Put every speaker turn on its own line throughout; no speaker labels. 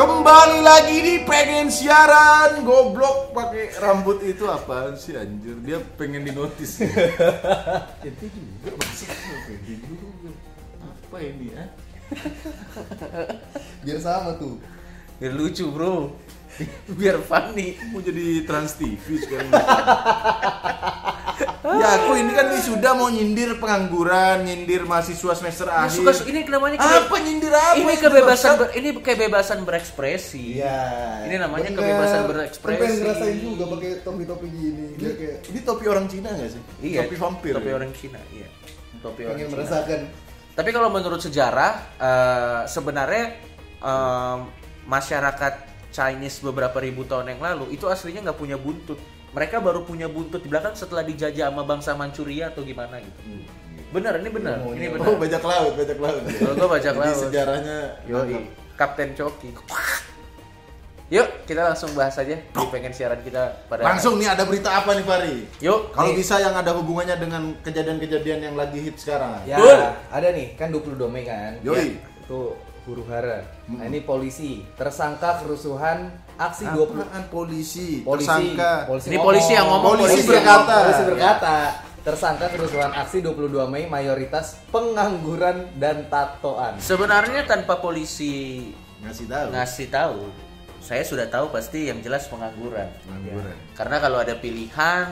Kembali lagi di pengen siaran goblok pakai rambut itu apaan sih anjir? Dia pengen dinotis. Itu juga masuk pengen juga. Apa ini ya?
biar sama tuh
Biar lucu bro Biar funny
Mau jadi trans TV sekarang. ya aku ini kan wisuda mau nyindir pengangguran, nyindir mahasiswa semester
Ini
akhir.
suka Ya, ini namanya kebe-
apa nyindir apa?
ini
sih,
kebebasan
bangsat?
ber- ini kebebasan berekspresi.
Iya.
Ini namanya
Bener.
kebebasan
Kan pengen ngerasain
berekspresi.
juga pakai topi-topi gini dia kayak
Ini topi orang Cina gak sih?
Iya.
Topi vampir.
Topi
ya?
orang Cina, iya. Topi orang
pengen
iya.
Cina.
merasakan
Tapi kalau menurut sejarah eh, sebenarnya em, masyarakat Chinese beberapa ribu tahun yang lalu itu aslinya nggak punya buntut. Mereka baru punya buntut di belakang setelah dijajah sama bangsa Manchuria atau gimana gitu. Bener, ini bener, ini bener.
Oh, bajak laut, bajak laut.
Kalau gua bajak
Jadi
laut.
sejarahnya
Yoi,
mantap.
Kapten Coki. Yuk, kita langsung bahas aja di pengen siaran kita pada
Langsung nih ada berita apa nih Fari?
Yuk,
Kalau
nih.
bisa yang ada hubungannya dengan kejadian-kejadian yang lagi hit sekarang.
Ya,
Betul.
ada nih, kan 20 Mei kan.
Yoi.
Ya, itu huru hara. Nah, ini polisi tersangka kerusuhan aksi 20
Apaan polisi,
polisi.
tersangka.
Ini polisi yang ngomong,
Polisi
yang
berkata.
ngomong, Polisi berkata. Tersangka kerusuhan aksi 22 Mei mayoritas pengangguran dan tatoan.
sebenarnya tanpa polisi
Ngasih tahu.
ngasih tahu, saya sudah tahu pasti yang jelas pengangguran. Iya.
Pengangguran.
Karena kalau ada pilihan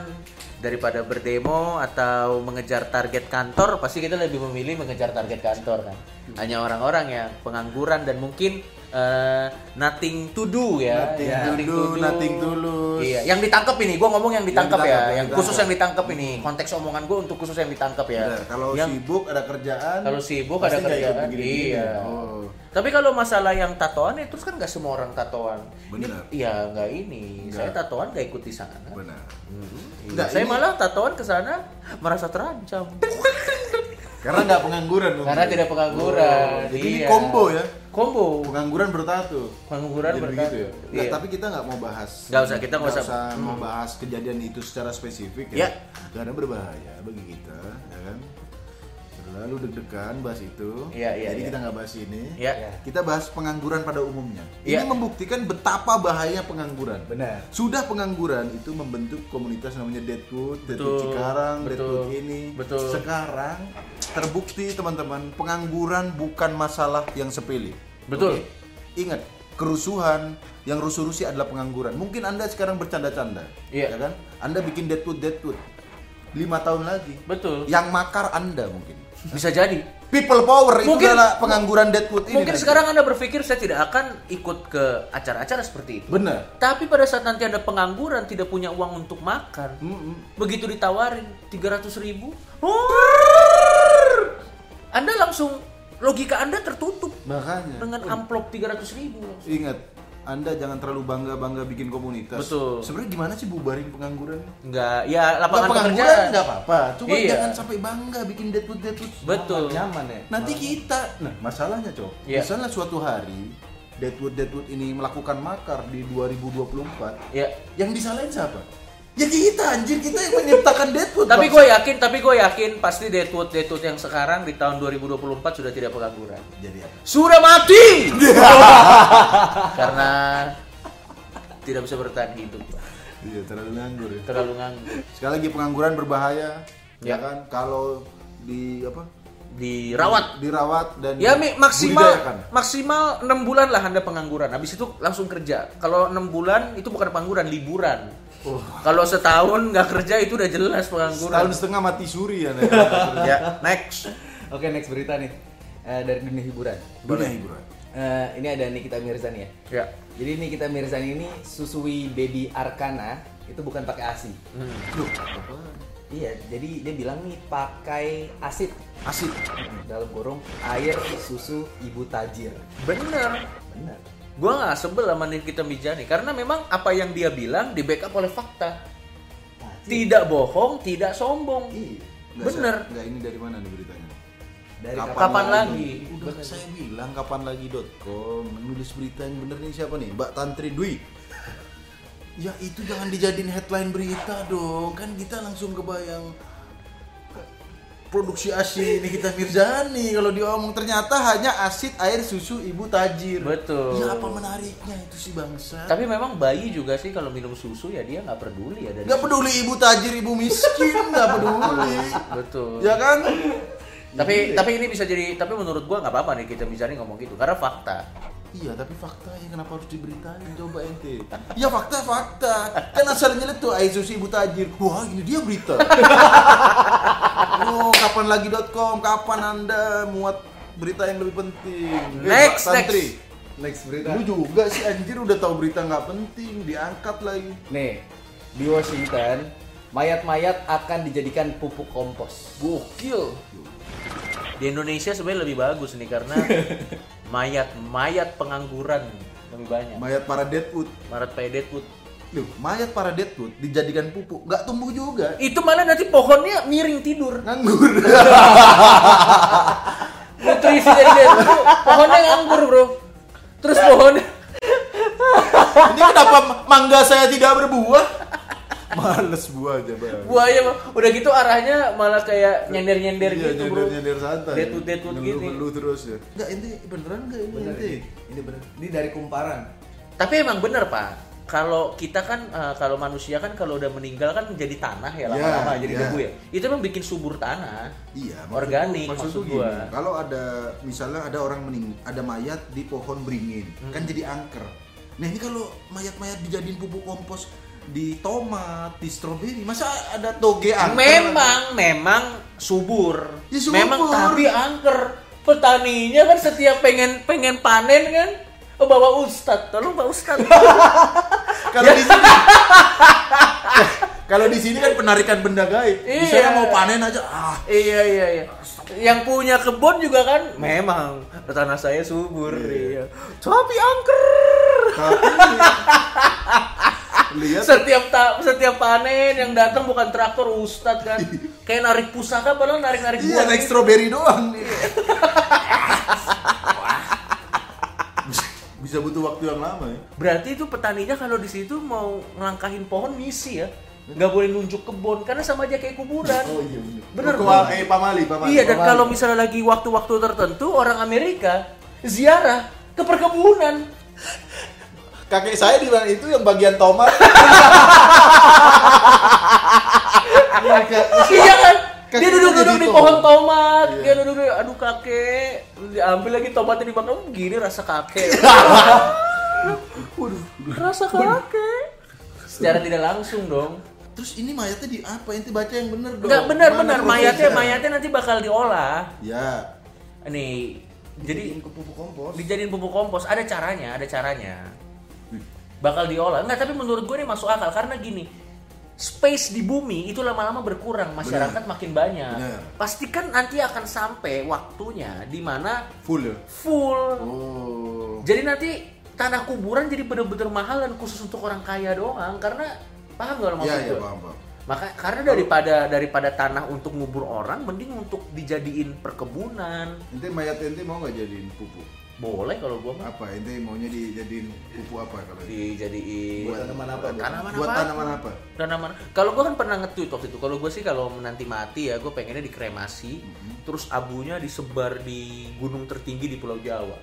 daripada berdemo atau mengejar target kantor, pasti kita lebih memilih mengejar target kantor kan.
Iya.
Hanya orang-orang yang pengangguran dan mungkin eh, nothing to do ya.
Nothing
Ya,
to do, nothing to lose.
Iya, yang ditangkap ini, gua ngomong yang ditangkap ya,
ditangkap,
yang
ditangkap.
khusus yang ditangkap ini. Konteks omongan gua untuk khusus yang ditangkap ya.
Bener, Kalau
Yang-
sibuk ada kerjaan.
kalau sibuk
pasti
ada
nggak ikut
kerjaan.
begini-begini.
Iya.
Oh.
Tapi kalau masalah yang tatoan ya terus kan nggak semua orang tatoan. Ini-
Benar.
Iya nggak ini.
Nggak.
Saya tatoan nggak ikut di sana.
Benar.
Iya.
Nggak,
Saya
ini-
malah tatoan ke sana merasa terancam.
Karena nggak pengangguran. Om.
Karena tidak pengangguran.
Oh, Jadi ini
Iya.
combo ya.
Kombo.
Pengangguran bertato.
Pengangguran
Jadi
bertato.
begitu ya. Nggak,
Iya.
tapi kita nggak mau bahas.
Nggak usah, kita nggak
Nggak
usah. Hmm.
mau bahas kejadian itu secara spesifik
Ya.
ya. Karena berbahaya bagi kita, ya kan? Terlalu deg-degan bahas itu.
Iya, iya,
Jadi
iya.
kita nggak bahas ini.
Ya.
Kita bahas pengangguran pada umumnya.
Iya.
Ini membuktikan betapa bahaya pengangguran.
Benar.
Sudah pengangguran itu membentuk komunitas namanya Deadwood,
Betul,
Deadwood Cikarang,
betul,
Deadwood ini.
betul.
Sekarang terbukti teman-teman, pengangguran bukan masalah yang sepele.
Betul.
Ingat, kerusuhan yang rusuh-rusuh adalah pengangguran. Mungkin Anda sekarang bercanda-canda,
Iya.
ya kan? Anda bikin Deadwood, Deadwood. Lima tahun lagi.
Betul.
Yang makar Anda mungkin.
Bisa jadi.
People power itu
Mungkin-
adalah pengangguran Deadwood ini.
Mungkin
nanti.
sekarang Anda berpikir saya tidak akan ikut ke acara-acara seperti itu.
benar.
Tapi pada saat nanti Anda pengangguran tidak punya uang untuk makan,
Mm-mm.
Begitu ditawarin 300 ribu, Anda langsung logika Anda tertutup
Makanya.
dengan amplop 300 ribu.
Ingat, Anda jangan terlalu bangga-bangga bikin komunitas.
Betul.
Sebenarnya gimana sih bubarin pengangguran?
Enggak, ya
Nggak,
lapangan
pengangguran
pekerjaan.
nggak apa-apa. Cuma
Iya.
jangan sampai bangga bikin deadwood deadwood.
Betul.
Nyaman ya.
Nanti kita, nah masalahnya cok,
Iya.
misalnya suatu hari deadwood deadwood ini melakukan makar di 2024,
Ya.
yang disalahin siapa? Ya kita anjir kita yang menciptakan deadwood.
Tapi
Bang.
gue yakin, tapi gue yakin pasti Deadwood Deadwood yang sekarang di tahun 2024 sudah tidak pengangguran.
jadi apa?
Sudah mati. Karena tidak bisa bertahan hidup.
Iya terlalu nganggur ya.
Terlalu nganggur.
Sekali lagi pengangguran berbahaya, ya,
Ya.
kan? Kalau di apa?
Dirawat
dirawat dan
Ya Mi, maksimal
dibudidayakan.
maksimal 6 bulan lah Anda pengangguran. Habis itu langsung kerja. Kalau 6 bulan itu bukan pengangguran, liburan. Kalau setahun nggak kerja itu udah jelas
Setahun
pengangguran.
setengah mati suri ya.
Ya, next.
Oke, next berita nih. Eh, dari dunia hiburan.
Boleh hiburan.
Eh, ini ada Nikita Mirzani ya.
Ya.
Jadi Nikita Mirzani ini susui baby Arkana itu bukan pakai ASI.
Hmm.
Iya, jadi dia bilang nih pakai asid
Asik.
dalam kurung air susu ibu tajir.
Bener.
Benar.
Gua nggak sebel sama Nikita Mijani karena memang apa yang dia bilang di backup oleh fakta. Tidak bohong, tidak sombong.
Ah, Iya, Nggak,
Bener.
saya- nggak, ini dari mana nih beritanya?
Dari
Kapan,
kapan?
lagi?
Udah saya bilang kapan lagi.com menulis berita yang bener nih siapa nih? Mbak Tantri Dwi. Ya itu jangan dijadiin headline berita dong. Kan kita langsung kebayang produksi ASI Nikita Mirzani kalau diomong ternyata hanya asid air susu ibu tajir
Betul.
ya apa menariknya itu sih bangsa
Tapi memang bayi juga sih kalau minum susu ya dia nggak peduli ya dari
nggak peduli ibu tajir ibu miskin nggak peduli
Betul.
ya iya. kan
Tapi tapi ini bisa jadi tapi menurut gua nggak apa-apa nih kita bicara ngomong gitu karena fakta.
iya tapi fakta ya kenapa harus diberitain coba ente ya fakta fakta kan asal nyeletuk air susu ibu tajir wah ini dia berita oh kapan lagi.com kapan anda muat berita yang lebih penting Eh,
Next,
Pak Santri.
next.
Next berita.
Lu juga sih anjir udah tahu berita nggak penting diangkat lagi.
Nih, di Washington, mayat-mayat akan dijadikan pupuk kompos.
Gokil. Di Indonesia sebenarnya lebih bagus nih karena mayat-mayat pengangguran lebih banyak.
Mayat para Deadwood.
Maret Pak Deadwood.
Loh, mayat para Deadwood dijadikan pupuk, nggak tumbuh juga.
Itu malah nanti pohonnya miring tidur.
Nganggur.
Nutrisi dari Deadwood. tuh, Pohonnya nganggur, Bro. Terus pohonnya
Ini kenapa mangga saya tidak berbuah? Males buah aja, Bang.
buaya Bang. udah gitu arahnya malah kayak nyender-nyender
Iya,
gitu, Bro.
Nyender-nyender santai.
Deadwood-deadwood gitu gini.
Ngeluh-ngeluh terus ya. Enggak, ini beneran enggak ini?
Bener
ente?
ini. Ini bener. Ini dari kumparan.
Tapi emang bener, Pak. Kalau kita kan, eh, kalau manusia kan kalau udah meninggal kan menjadi tanah
Ya,
ya lama-lama, jadi
ya.
debu ya. Itu emang bikin subur tanah.
Iya,
Organik, maksud
gini,
gua.
Kalau ada misalnya ada orang mening, ada mayat di pohon beringin,
Hmm.
kan jadi angker. Nah ini kalau mayat-mayat dijadiin pupuk kompos di tomat, di stroberi, masa ada toge angker?
Memang, memang subur.
Ya, subur.
Memang tapi angker. Petaninya kan setiap pengen pengen panen kan bawa ustad, tolong pak ustad.
Kalau di sini, kalau di sini kan penarikan benda gaib. Di sana
Iya.
mau panen aja, ah
iya iya iya. Yang punya kebun juga kan memang tanah saya subur. Iya. Tapi angker. Iya.
lihat
Setiap ta- setiap panen yang datang bukan traktor ustad kan. Kayak narik pusaka padahal narik-narik
Iya,
buah.
naik stroberi doang nih. Bisa butuh waktu yang lama ya.
Berarti itu petaninya kalau di situ mau ngelangkahin pohon misi ya. Nggak boleh nunjuk kebun karena sama aja kayak kuburan.
Oh iya bener.
Bener
Ke-
Bang.
eh, pamali, pamali.
Iya, dan kalau misalnya lagi waktu-waktu tertentu orang Amerika ziarah ke perkebunan.
kakek saya di mana itu yang bagian tomat
iya kan?
Kakek
Dia
itu
duduk-duduk
jadi
di
tomat.
pohon tomat, dia duduk aduh kakek, diambil lagi tomatnya dimakan, "Oh, gini rasa kakek. Waduh, rasa kakek. Secara tidak langsung dong.
terus ini mayatnya di apa inti baca yang bener dong
Enggak benar-benar
Mana
mayatnya
prosesnya?
mayatnya nanti bakal diolah.
ya
Nih, jadi
Dijadiin ke pupuk kompos.
dijadiin pupuk kompos ada caranya ada caranya bakal diolah nggak tapi menurut gue ini masuk akal karena gini space di bumi itu lama-lama berkurang masyarakat makin banyak
Benar.
pastikan nanti akan sampai waktunya di mana
full ya
full
oh
jadi nanti tanah kuburan jadi bener-bener mahal dan khusus untuk orang kaya doang karena paham gak lo maksud
ya ya
gue?
paham paham
Maka karena daripada daripada tanah untuk ngubur orang mending untuk dijadiin perkebunan.
inti mayat inti mau nggak jadiin pupuk
Boleh kalau gua mah
apa inti maunya dijadiin pupuk apa kalau ini?
dijadiin
Buat tanaman apa?
Tanaman
buat
apa?
tanaman apa
tanaman kalau gue kan pernah nge-tweet waktu itu kalau gue sih kalau menanti mati ya gue pengennya dikremasi terus abunya disebar di gunung tertinggi di pulau Jawa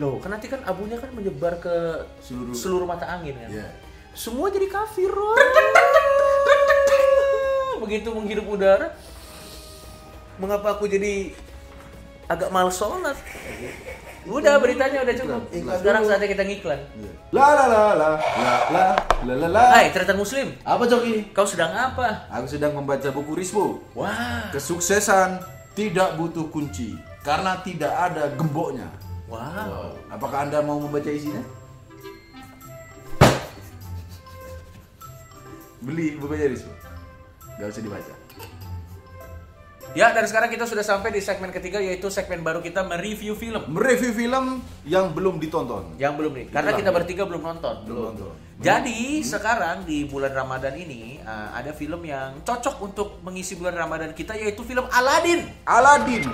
loh kan nanti kan abunya kan menyebar ke
Seluruh-
seluruh mata angin kan
Iya.
semua jadi kafir Roy. begitu menghirup udara mengapa aku jadi agak malas sholat udah beritanya udah cukup
Iklan
sekarang
dulu.
saatnya kita ngiklan
Iya. la la la la la la la la la
Hai, cerita muslim
apa coki
kau sedang apa
aku sedang membaca buku Rispo
wah
kesuksesan tidak butuh kunci karena tidak ada gemboknya
Wow.
apakah anda mau membaca isinya beli bukunya Rispo nggak usah dibaca
Ya, dan sekarang kita sudah sampai di segmen ketiga yaitu segmen baru kita mereview film.
mereview film yang belum ditonton
Yang belum nih, karena
Belum.
kita bertiga belum nonton. Hmm.
Belum nonton.
Jadi sekarang di bulan Ramadan ini uh, ada film yang cocok untuk mengisi bulan Ramadan kita yaitu film Aladin.
Aladin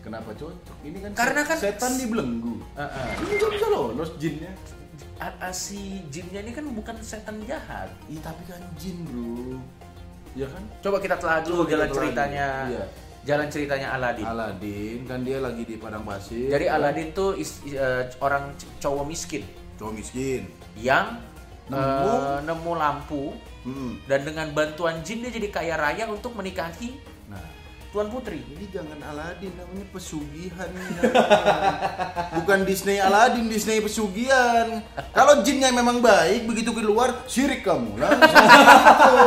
kenapa cocok ini kan
Karena kan-
setan dibelenggu ini juga bisa lolos jinnya
Si jinnya ini kan bukan setan jahat.
Ih, tapi kan jin bro Iya kan?
Coba kita telah
Coba
dulu
kita
jalan
telah
ceritanya.
dulu, iya.
Jalan ceritanya Aladin.
Aladin kan dia lagi di padang pasir.
Jadi Aladin tuh is- is- eh, orang c- cowok miskin
cowok miskin.
yang eh, nemu,
Nemu.
lampu
Hmm.
dan dengan bantuan jin dia jadi kaya raya untuk menikahi
Nah,
Tuan Putri.
ini jangan Aladin namanya pesugihan. Bukan Disney Aladin, Disney pesugihan. Kalau jinnya memang baik, begitu keluar syirik kamu. Langsung gitu.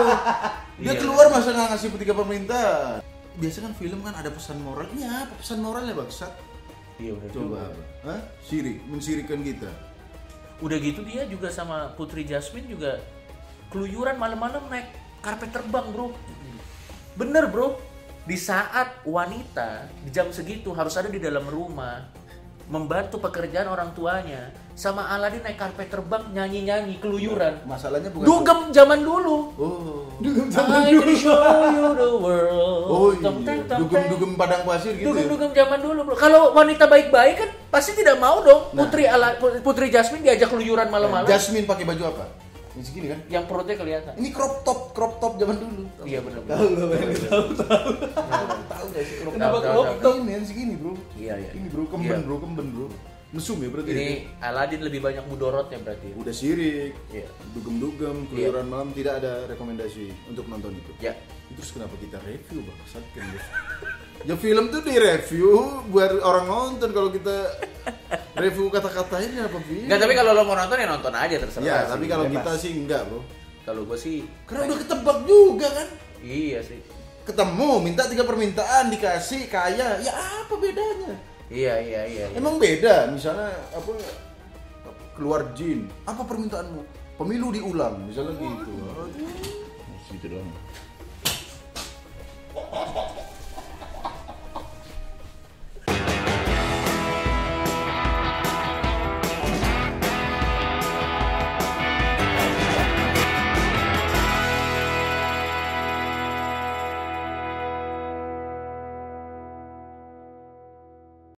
Dia
Iya.
keluar masa nggak ngasih tiga permintaan. Biasa kan film kan ada pesan moralnya, apa pesan moralnya bangsat?
Iya udah
Coba apa? Hah? Sirik, mensirikan kita.
Udah gitu dia juga sama Putri Jasmine juga keluyuran malam-malam naik karpet terbang, Bro. Bener, Bro. Di saat wanita di jam segitu harus ada di dalam rumah membantu pekerjaan orang tuanya sama Aladin naik karpet terbang nyanyi-nyanyi keluyuran.
Masalahnya bukan
Dugem zaman dulu.
Oh.
I can show you the world.
Oh iya,
Tong teng, tong teng.
dugem-dugem padang pasir gitu ya?
Dugem-dugem zaman dulu, bro. Kalau wanita baik-baik kan pasti tidak mau dong.
Nah.
Putri ala Putri Jasmine diajak keluyuran malam-malam.
Jasmine pakai baju apa? Ini segini kan?
yang perutnya kelihatan.
Ini crop top, crop top zaman dulu.
Iya benar.
Tahu lo Ben.
Tahu nggak sih crop
Kenapa
Tahu, tahu,
crop
tahu.
top?
Ini yang segini bro.
Iya, iya.
Ini bro kemben
Iya.
bro kemben bro. Mesum ya berarti.
Ini
ya?
Aladin lebih banyak mudorotnya berarti.
Udah sirik,
Iya.
dugem-dugem, keluyuran malam tidak ada rekomendasi untuk nonton itu.
Ya.
Terus kenapa kita review bangsat kan? Bos? ya film tuh di review biar orang nonton kalau kita review kata-katanya apa film?
Nggak, tapi kalau lo mau nonton ya nonton aja terserah.
Ya,
sih.
tapi kalau
bebas.
kita sih enggak, Bro.
kalau gue sih
Karena udah ketebak juga kan.
iya sih.
Ketemu, minta tiga permintaan, dikasih, kaya. Ya apa bedanya?
Iya iya iya. iya.
Emang beda, misalnya apa keluar jin. Apa permintaanmu? Pemilu diulang, misalnya gitu. Gitu dong.